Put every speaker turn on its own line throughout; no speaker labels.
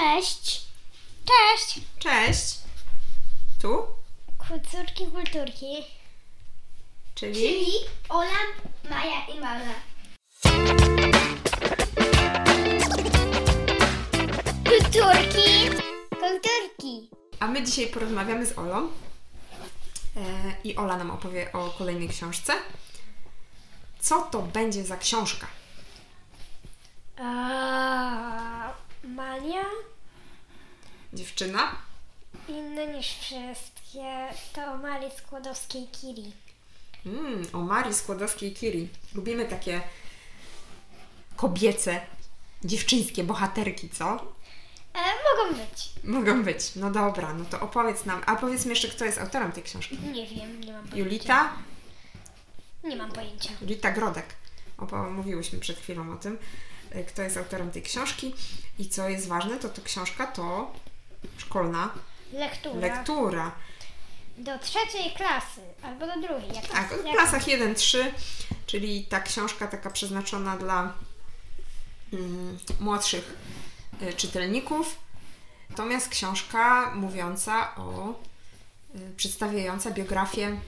Cześć. Cześć.
Cześć. Tu?
Kulturki, kulturki.
Czyli?
Ola, Maja i Mama. Kulturki. Kulturki.
A my dzisiaj porozmawiamy z Olą. E, I Ola nam opowie o kolejnej książce. Co to będzie za książka?
A, mania?
Dziewczyna?
Inne niż wszystkie. To Marii Skłodowskiej Kiri.
Mm, o Marii Skłodowskiej Curie. Lubimy takie kobiece, dziewczyńskie bohaterki, co?
E, mogą być.
Mogą być. No dobra, no to opowiedz nam. A powiedz mi jeszcze, kto jest autorem tej książki?
Nie wiem, nie mam pojęcia.
Julita?
Nie mam pojęcia.
Julita Grodek. Opo- Mówiłyśmy przed chwilą o tym, y, kto jest autorem tej książki. I co jest ważne, to to książka to szkolna
Lektura.
lektura.
do trzeciej klasy, albo do drugiej. Jak
Tak, w
jak-
klasach 1-3, czyli ta książka taka przeznaczona dla mm, młodszych y, czytelników. Natomiast książka mówiąca o, y, przedstawiająca biografię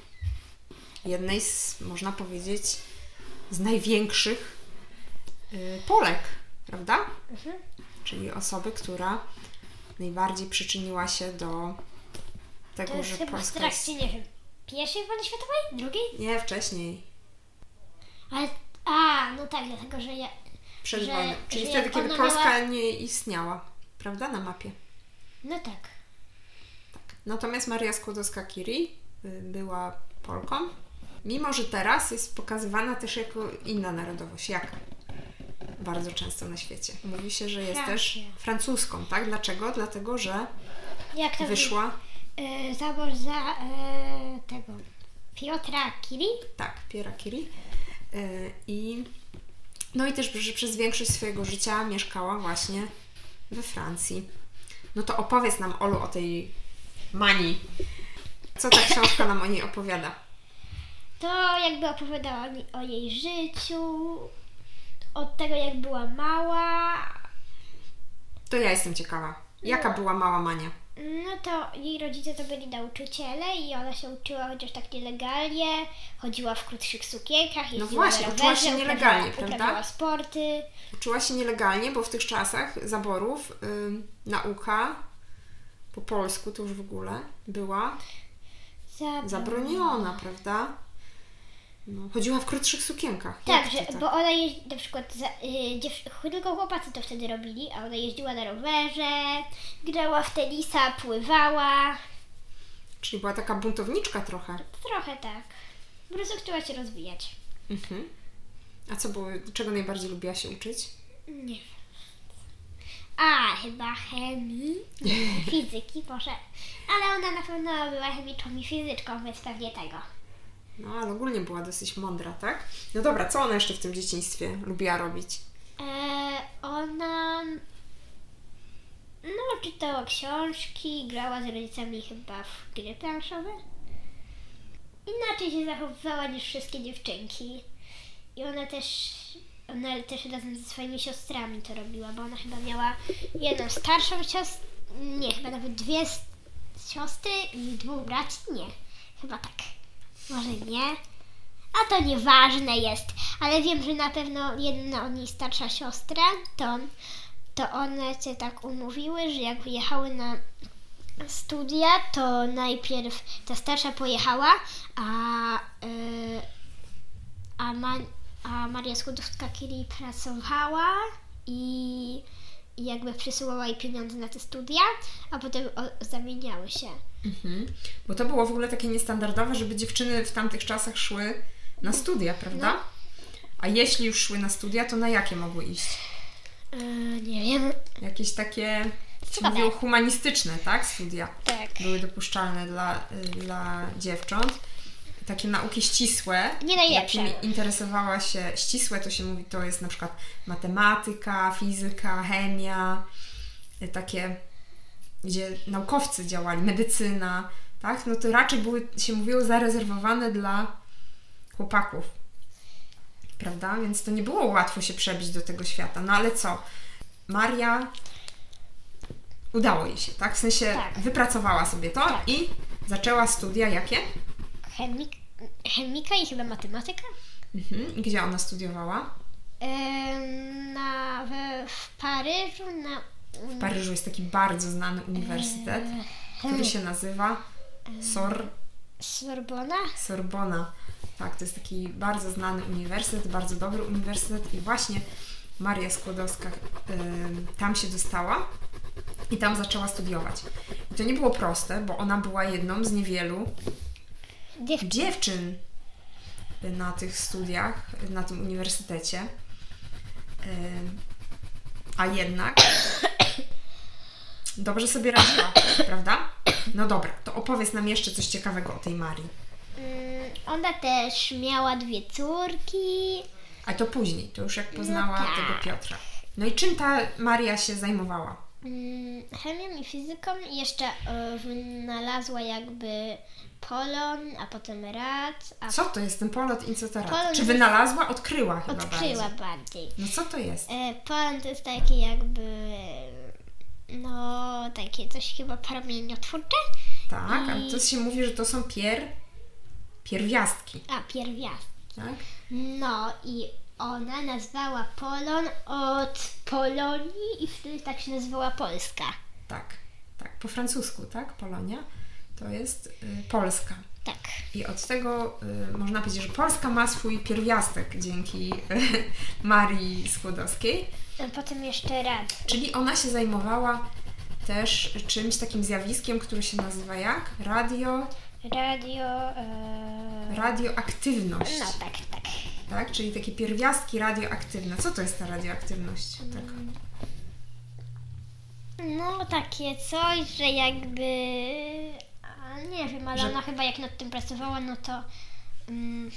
jednej z, można powiedzieć, z największych y, Polek, prawda?
Mhm.
Czyli osoby, która najbardziej przyczyniła się do
To
tego,
jest
że
chyba w
Tak, Polska jest...
trakcie, nie wiem, pierwszej wojny światowej? Drugiej?
Nie, wcześniej.
Ale, a, no tak, dlatego, że ja...
przed
że-
wojną. Czyli
że
wtedy,
jak
kiedy
ona
Polska
miała-
nie istniała, prawda, na mapie.
No tak.
Natomiast Maria Skłodowska-Curie y, była Polką, mimo że teraz jest pokazywana też jako inna narodowość, jak bardzo często na świecie. Mówi się, że jest też
Francja.
francuską, tak? Dlaczego? Dlatego, że
Jak to
wyszła,
Y, za morza y, tego... Piotra Kiri?
tak, Piera Curie y, i no i też, że przez większość swojego życia mieszkała właśnie we Francji. No to opowiedz nam, Olu, o tej manii. Co ta książka nam o niej opowiada?
To jakby opowiadała mi o jej życiu, od tego jak była mała.
To ja jestem ciekawa. Jaka była mała mania?
No to jej rodzice to byli nauczyciele i ona się uczyła chociaż tak nielegalnie, chodziła w krótszych sukienkach, jeździła
No właśnie,
na
uczyła
rowerze,
się
uprawiała-
nielegalnie, prawda?
Uprawiała sporty.
Czuła się nielegalnie, bo w tych czasach zaborów ym, nauka po polsku to już w ogóle była
Zabro-
zabroniona, prawda? No, chodziła w krótszych sukienkach.
Tak,
Jak
że,
to tak?
bo ona jeździ, na przykład za, y, dziew, tylko chłopacy to wtedy robili, a ona jeździła na rowerze, grała w tenisa, pływała,
Czyli była taka buntowniczka trochę.
trochę tak. Po prostu chciała się rozwijać.
Mhm. A co było, czego najbardziej lubiła się uczyć?
Nie. A, chyba chemii, fizyki, może. Ale ona na pewno była chemiczką i fizyczką, więc pewnie tego.
No, ale ogólnie była dosyć mądra, tak? No dobra, co ona jeszcze w tym dzieciństwie lubiła robić?
E, ona. No, czytała książki, grała z rodzicami chyba w gry planszowe. Inaczej się zachowywała niż wszystkie dziewczynki. I ona też. Ona też razem ze swoimi siostrami to robiła, bo ona chyba miała jedną starszą siostrę. Nie, chyba nawet dwie s- siostry i dwóch braci? Nie, chyba tak. Może nie. A to nieważne jest, ale wiem, że na pewno jedna od niej starsza siostra, to, to one się tak umówiły, że jak wyjechały na studia, to najpierw ta starsza pojechała, a, yy, a, Ma, a Maria Skłodowska-Curie pracowała i i jakby przysyłała jej pieniądze na te studia, a potem o, zamieniały się.
Mhm. Bo to było w ogóle takie niestandardowe, żeby dziewczyny w tamtych czasach szły na studia, prawda? A jeśli już szły na studia, to na jakie mogły iść?
Yy, nie wiem.
Jakieś takie, jak się
Ciekawe.
mówiło, humanistyczne, tak? Studia
Tak.
były dopuszczalne dla, y, dla dziewcząt. Takie nauki ścisłe.
Nie najlepsze.
Jakimi interesowała się ścisłe, to się mówi, to jest na przykład matematyka, fizyka, chemia, y, takie, gdzie naukowcy działali, medycyna, tak? No to raczej były, się mówiło, zarezerwowane dla chłopaków. Prawda? Więc to nie było łatwo się przebić do tego świata. No ale co? Maria udało jej się, tak? W sensie
Tak.
wypracowała sobie to
Tak.
i zaczęła studia jakie?
Chemik, chemika i chyba matematyka?
Mhm. I Gdzie ona studiowała?
Em, na, w, w Paryżu na...
W Paryżu jest taki bardzo znany uniwersytet,
Eee.
który się nazywa Sor
Sorbona?
Sorbona. Tak, to jest taki bardzo znany uniwersytet, bardzo dobry uniwersytet i właśnie Maria Skłodowska ym, tam się dostała i tam zaczęła studiować. I to nie było proste, bo ona była jedną z niewielu
Dziewczyna.
dziewczyn na tych studiach, na tym uniwersytecie. Ym, A jednak dobrze sobie radziła, prawda? No dobra, to opowiedz nam jeszcze coś ciekawego o tej Marii.
Mm, Ona też miała dwie córki.
A to później, to już jak poznała
tak.
tego Piotra. No i czym ta Maria się zajmowała?
Mm, Chemią i fizyką i jeszcze e, wynalazła jakby polon, a potem rad, a
Co to jest ten polot incoterat?
Tak. Polot
Czy
jest-
wynalazła? Odkryła chyba
odkryła
bardziej.
bardziej.
No co to jest?
E, Polon to jest takie jakby, no takie coś chyba promieniotwórcze,
Tak,
I-
ale to się mówi, że to są pier... pierwiastki,
a pierwiast.
tak?
No i ona nazwała polon od Polonii i wtedy tak się nazywała Polska.
Tak, tak. Po francusku, tak? Polonia to jest y, Polska.
Tak.
I od tego y, można powiedzieć, że Polska ma swój pierwiastek dzięki y, Marii Skłodowskiej.
E, Potem jeszcze rad.
Czyli ona się zajmowała też czymś takim zjawiskiem, które się nazywa jak? Radio,
Radio. E...
radioaktywność.
No tak, tak.
Tak? Czyli takie pierwiastki radioaktywne. Co to jest ta radioaktywność? Tak.
No takie coś, że jakby. A nie wiem, ale
Że-
ona chyba jak nad tym pracowała, no to. Mm...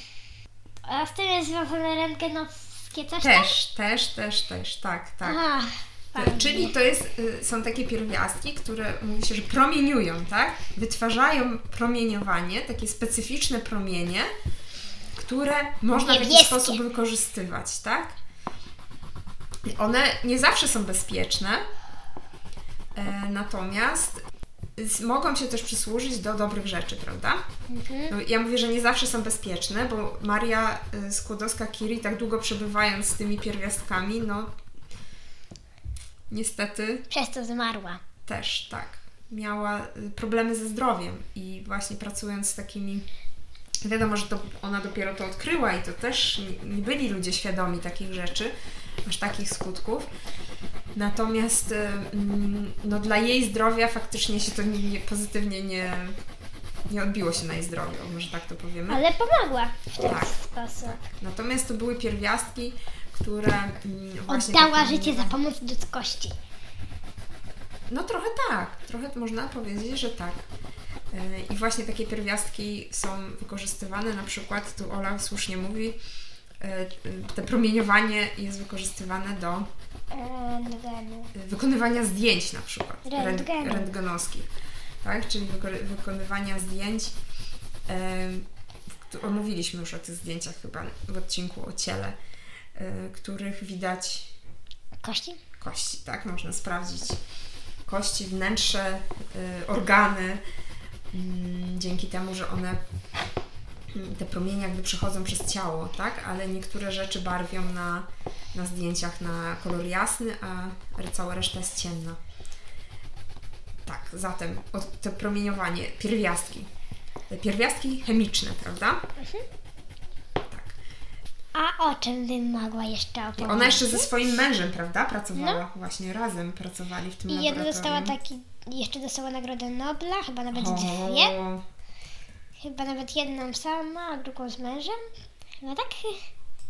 A z tym jest związane rentgenowskie coś tam?
Też, też, też, też, tak, tak.
A, fajnie.
Czyli to jest, y, są takie pierwiastki, które mówi się, że promieniują, tak? Wytwarzają promieniowanie, takie specyficzne promienie, które można w jakiś
Niebieskie.
sposób wykorzystywać, tak? I One nie zawsze są bezpieczne, e, natomiast z- mogą się też przysłużyć do dobrych rzeczy, prawda?
Mhm.
No, ja mówię, że nie zawsze są bezpieczne, bo Maria y, Skłodowska-Curie tak długo przebywając z tymi pierwiastkami, no niestety
Przez to zmarła.
też tak. Miała y, problemy ze zdrowiem i właśnie pracując z takimi. Wiadomo, że to ona dopiero to odkryła i to też nie- nie byli ludzie świadomi takich rzeczy, aż takich skutków. Natomiast y, mm, no, dla jej zdrowia faktycznie się to nie, nie, pozytywnie nie, nie odbiło się na jej zdrowiu, może tak to powiemy.
Ale pomogła w ten
Tak.
sposób.
Natomiast to były pierwiastki, które mm, właśnie
Oddała
takie-
życie za pomoc ludzkości.
No trochę tak, trochę można powiedzieć, że tak. Yy, I właśnie takie pierwiastki są wykorzystywane, na przykład tu Ola słusznie mówi, yy, yy, te promieniowanie jest wykorzystywane do
Rentgenu.
yy, wykonywania zdjęć na przykład, ren-
Rentgenu.
rentgenowskich, tak? Czyli wykory- wykonywania zdjęć, yy, w któ- omówiliśmy już o tych zdjęciach chyba w odcinku o ciele, yy, których widać
Kości?
kości, tak? Można sprawdzić kości, wnętrze, y, organy, mm, dzięki temu, że one, mm, te promienie jakby przechodzą przez ciało, tak? Ale niektóre rzeczy barwią na, na zdjęciach na kolor jasny, a r- cała reszta jest ciemna. Tak, zatem od, to promieniowanie, pierwiastki. Te Pierwiastki chemiczne, prawda? Tak.
Mhm. A o czym wymagła jeszcze opowiedzieć?
Ona jeszcze ze swoim mężem, prawda, pracowała. Właśnie razem pracowali w tym
No. I jedna tak
laboratorium.
dostała taki, jeszcze dostała Nagrodę Nobla, chyba nawet dwie.
O,
Chyba nawet jedną sama, a drugą z mężem. No tak.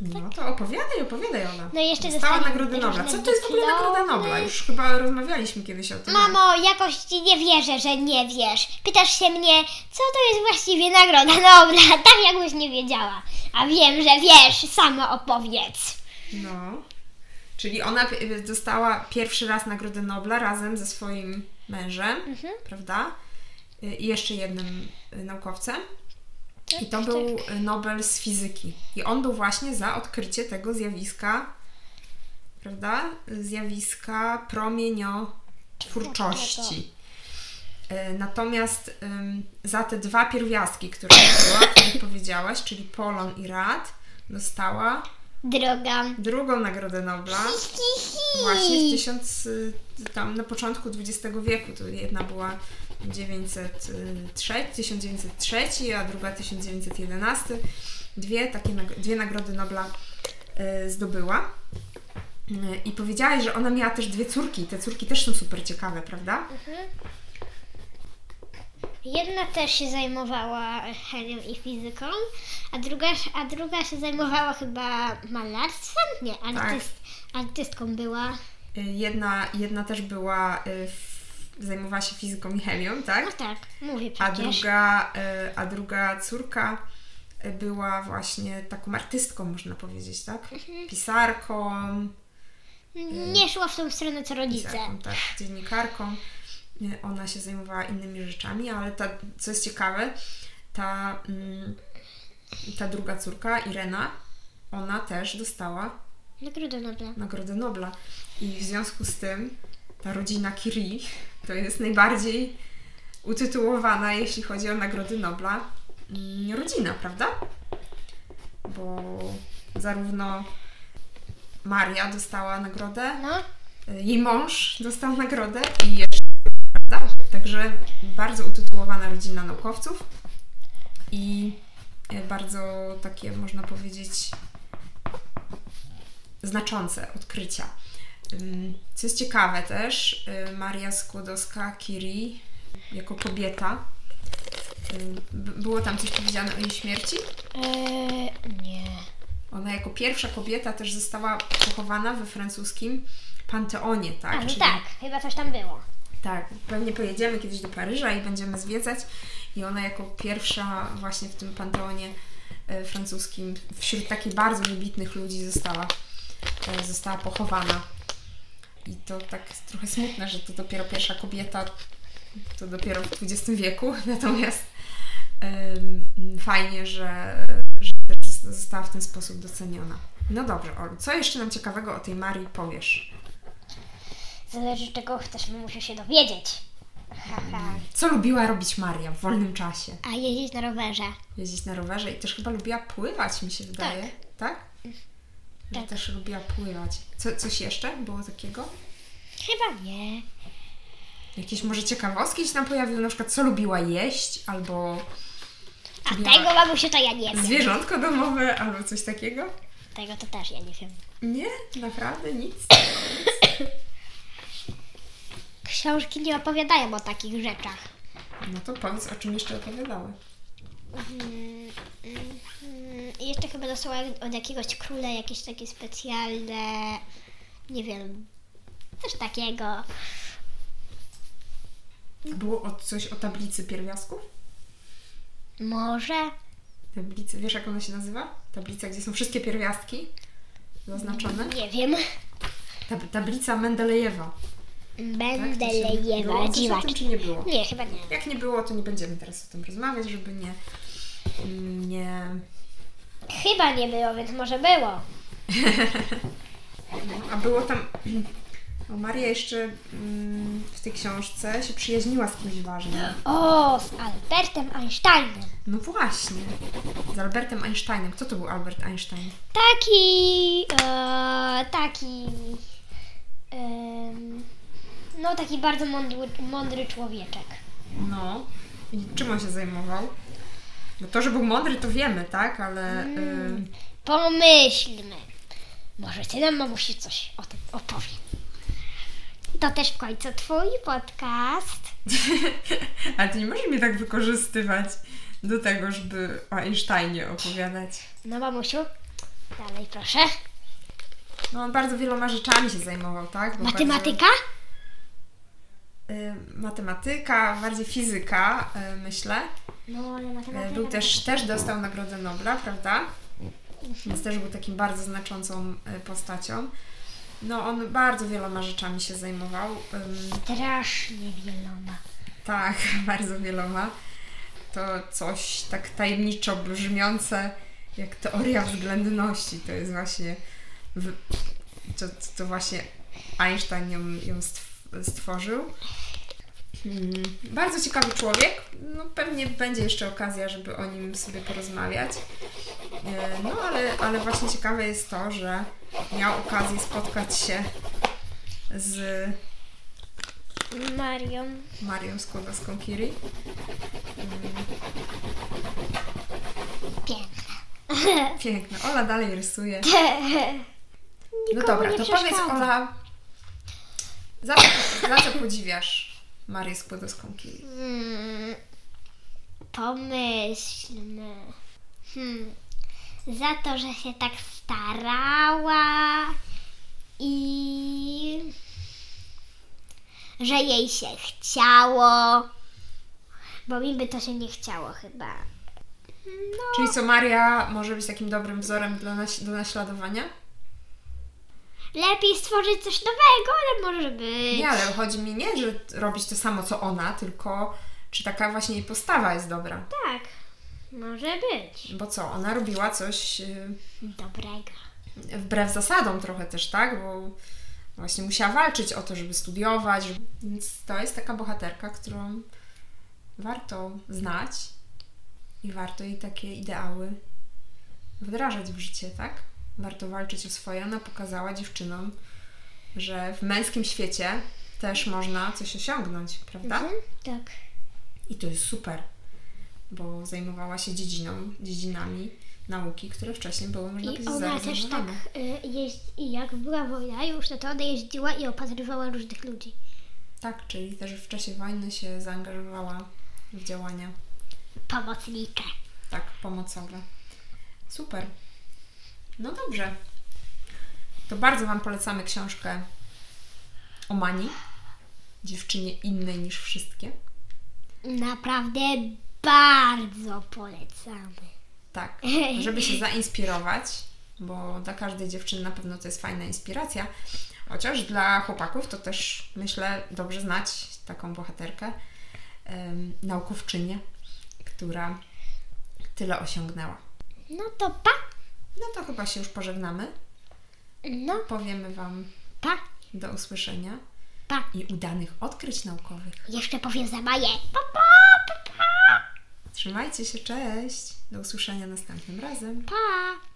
No to opowiadaj, opowiadaj Ola.
No i jeszcze
Dostała
dostali
Nagrodę
różne
Nobla. Co to jest w ogóle
dyplomy.
Nagroda Nobla? Już chyba rozmawialiśmy kiedyś o tym.
Mamo, jakoś ci nie wierzę, że nie wiesz. Pytasz się mnie, co to jest właściwie Nagroda Nobla, tak jakbyś nie wiedziała. A wiem, że wiesz, sama opowiedz.
No. Czyli ona p- dostała pierwszy raz Nagrodę Nobla razem ze swoim mężem,
Mhm.
prawda? Y, I jeszcze jednym y, naukowcem. I to
Tak,
był y, Nobel z fizyki. I on był właśnie za odkrycie tego zjawiska, prawda? Zjawiska promienio...
Tak,
twórczości. E, Natomiast ym, za te dwa pierwiastki, które dostała, które powiedziałaś, czyli Polon i Rad, dostała
Droga.
drugą Nagrodę Nobla.
Hi, hi.
Właśnie w tysiąc, y, tam na początku XX wieku, to jedna była 903, 1903, a druga 1911. Dwie takie nag- dwie nagrody Nobla y, zdobyła. Y, I powiedziałaś, że ona miała też dwie córki. Te córki też są super ciekawe, prawda?
Mhm. Jedna też się zajmowała chemią i fizyką, a druga, a druga się zajmowała chyba malarstwem? Nie,
Tak.
artyst, artystką była.
Y, Jedna, jedna też była, y, f- zajmowała się fizyką i helią,
No
tak?
tak, mówię
A
przecież.
druga, y, a druga córka y, była właśnie taką artystką, można powiedzieć, tak? Pisarką,
Nie szła w tą stronę co rodzice.
pisarką tak, dziennikarką. Y, Ona się zajmowała innymi rzeczami, ale ta, co jest ciekawe, ta, mm, ta druga córka, Irena, ona też dostała
Nagroda Nobla.
Nagrodę Nobla. I w związku z tym ta rodzina Curie to jest najbardziej utytułowana, jeśli chodzi o Nagrody Nobla, mm, rodzina, prawda? Bo zarówno Maria dostała nagrodę,
No,
y, jej mąż dostał nagrodę i jeszcze, prawda? Także bardzo utytułowana rodzina naukowców i y, bardzo takie, można powiedzieć, znaczące odkrycia. Ym, Co jest ciekawe też, y, Maria Skłodowska-Curie jako kobieta, ym, b- było tam coś powiedziane o jej śmierci?
eee, nie.
Ona jako pierwsza kobieta też została pochowana we francuskim Panteonie, tak?
A, no
Czyli-
tak, chyba coś tam było.
Tak, pewnie pojedziemy kiedyś do Paryża i będziemy zwiedzać. I ona jako pierwsza właśnie w tym panteonie e, francuskim, wśród takich bardzo wybitnych ludzi została, e, została pochowana. I to tak trochę smutne, że to dopiero pierwsza kobieta, to dopiero w XX wieku. Natomiast em, fajnie, że, że też zosta- została w ten sposób doceniona. No dobrze, Olu, co jeszcze nam ciekawego o tej Marii powiesz?
Zależy czego chcesz, musisz się dowiedzieć. Haha.
Co lubiła robić Maria w wolnym czasie?
A jeździć na rowerze.
jeździć na rowerze i też chyba lubiła pływać, mi się wydaje. Tak? Że
Tak.
Też lubiła pływać. Co, coś jeszcze było takiego?
Chyba nie.
Jakieś może ciekawostki się nam pojawiły, na przykład co lubiła jeść, albo
A
Lubiła-
tego mamusiu to ja nie wiem.
zwierzątko domowe, albo coś takiego?
Tego to też ja nie wiem.
Nie, naprawdę nic.
Książki nie opowiadają o takich rzeczach.
No to powiedz, o czym jeszcze opowiadały.
Mm, mm, mm. I Jeszcze chyba dostała od jakiegoś króla jakieś takie specjalne, nie wiem, coś takiego.
Było o coś o tablicy pierwiastków?
Może?
Tablicy, wiesz jak ona się nazywa? Tablica, gdzie są wszystkie pierwiastki zaznaczone?
Nie wiem.
Tab- tablica Mendelejewa. Tak?
Będę
To się- było
lejewa
coś o tym,
dziwaczki.
czy nie było?
Nie, chyba nie.
Jak nie było, to nie będziemy teraz o tym rozmawiać, żeby nie. mm, nie.
Chyba nie było, więc może było.
A było tam. O, Maria jeszcze mm, w tej książce się przyjaźniła z kimś ważnym.
O, z Albertem Einsteinem.
No właśnie. Z Albertem Einsteinem. Kto to był Albert Einstein?
Taki. E, taki. em, no, taki bardzo mądry, mądry człowieczek.
No. I czym on się zajmował? Bo to, że był mądry, to wiemy, tak? Ale. y,
Pomyślmy. Może ty nam mamusi coś o tym opowie. To też w końcu twój podcast.
ale ty nie możesz mnie tak wykorzystywać do tego, żeby o Einsteinie opowiadać.
No, mamusiu, dalej proszę.
No on bardzo wieloma rzeczami się zajmował, tak? Bo bardzo-
Matematyka?
Y, matematyka, bardziej fizyka, y, myślę.
No, ale
Y,
matematyka.
Był też, też dostał Nagrodę Nobla, prawda? Więc też był takim bardzo znaczącą y, postacią. No, on bardzo wieloma rzeczami się zajmował. Ym,
Strasznie wieloma.
tak, bardzo wieloma. To coś tak tajemniczo brzmiące, jak teoria względności. To jest właśnie. W, to, to właśnie Einstein ją, ją stw, stworzył. Mm, Bardzo ciekawy człowiek. No, pewnie będzie jeszcze okazja, żeby o nim sobie porozmawiać. E, No ale, ale właśnie ciekawe jest to, że miał okazję spotkać się z
Marią.
Marią Skłodowską Curie.
Piękna.
Piękne. Ola dalej rysuje. No dobra,
nie
to powiedz
przeszkadza.
Ola, za, co- za co podziwiasz Marię Skłodowską Curie?
Hmm, pomyślmy. Hmm, za to, że się tak starała i że jej się chciało, bo mi by to się nie chciało chyba. No,
Czyli co, Maria może być takim dobrym wzorem dla nas, do naśladowania?
lepiej stworzyć coś nowego, ale może być.
Nie, ale chodzi mi nie, że robić to samo co ona, tylko czy taka właśnie jej postawa jest dobra.
Tak, może być.
Bo co, ona robiła coś y,
Dobrego.
wbrew zasadom trochę też, tak? Bo właśnie musiała walczyć o to, żeby studiować. żeby- Więc to jest taka bohaterka, którą warto znać i warto jej takie ideały wdrażać w życie, tak? Warto walczyć o swoje. Ona pokazała dziewczynom, że w męskim świecie też można coś osiągnąć, prawda?
Mhm, tak.
I to jest super, bo zajmowała się dziedziną, dziedzinami nauki, które wcześniej były, można
I
powiedzieć,
ona też tak
zarezerwowane.
y, jeździ, i jak była wojna już, no to ona jeździła i opatrywała różnych ludzi.
Tak, czyli też w czasie wojny się zaangażowała w działania
Pomocnicze.
tak pomocowe. Super. No dobrze. To bardzo Wam polecamy książkę o Mani, dziewczynie innej niż wszystkie.
Naprawdę bardzo polecamy.
Tak, żeby się zainspirować, bo dla każdej dziewczyny na pewno to jest fajna inspiracja. Chociaż dla chłopaków to też myślę dobrze znać taką bohaterkę, em, naukowczynię, która tyle osiągnęła.
No to pa,
No to chyba się już pożegnamy.
no
Powiemy Wam
pa,
do usłyszenia
pa.
i udanych odkryć naukowych.
Jeszcze powiem za Maję. Pa, pa, pa, pa.
Trzymajcie się, cześć! Do usłyszenia następnym razem.
pa.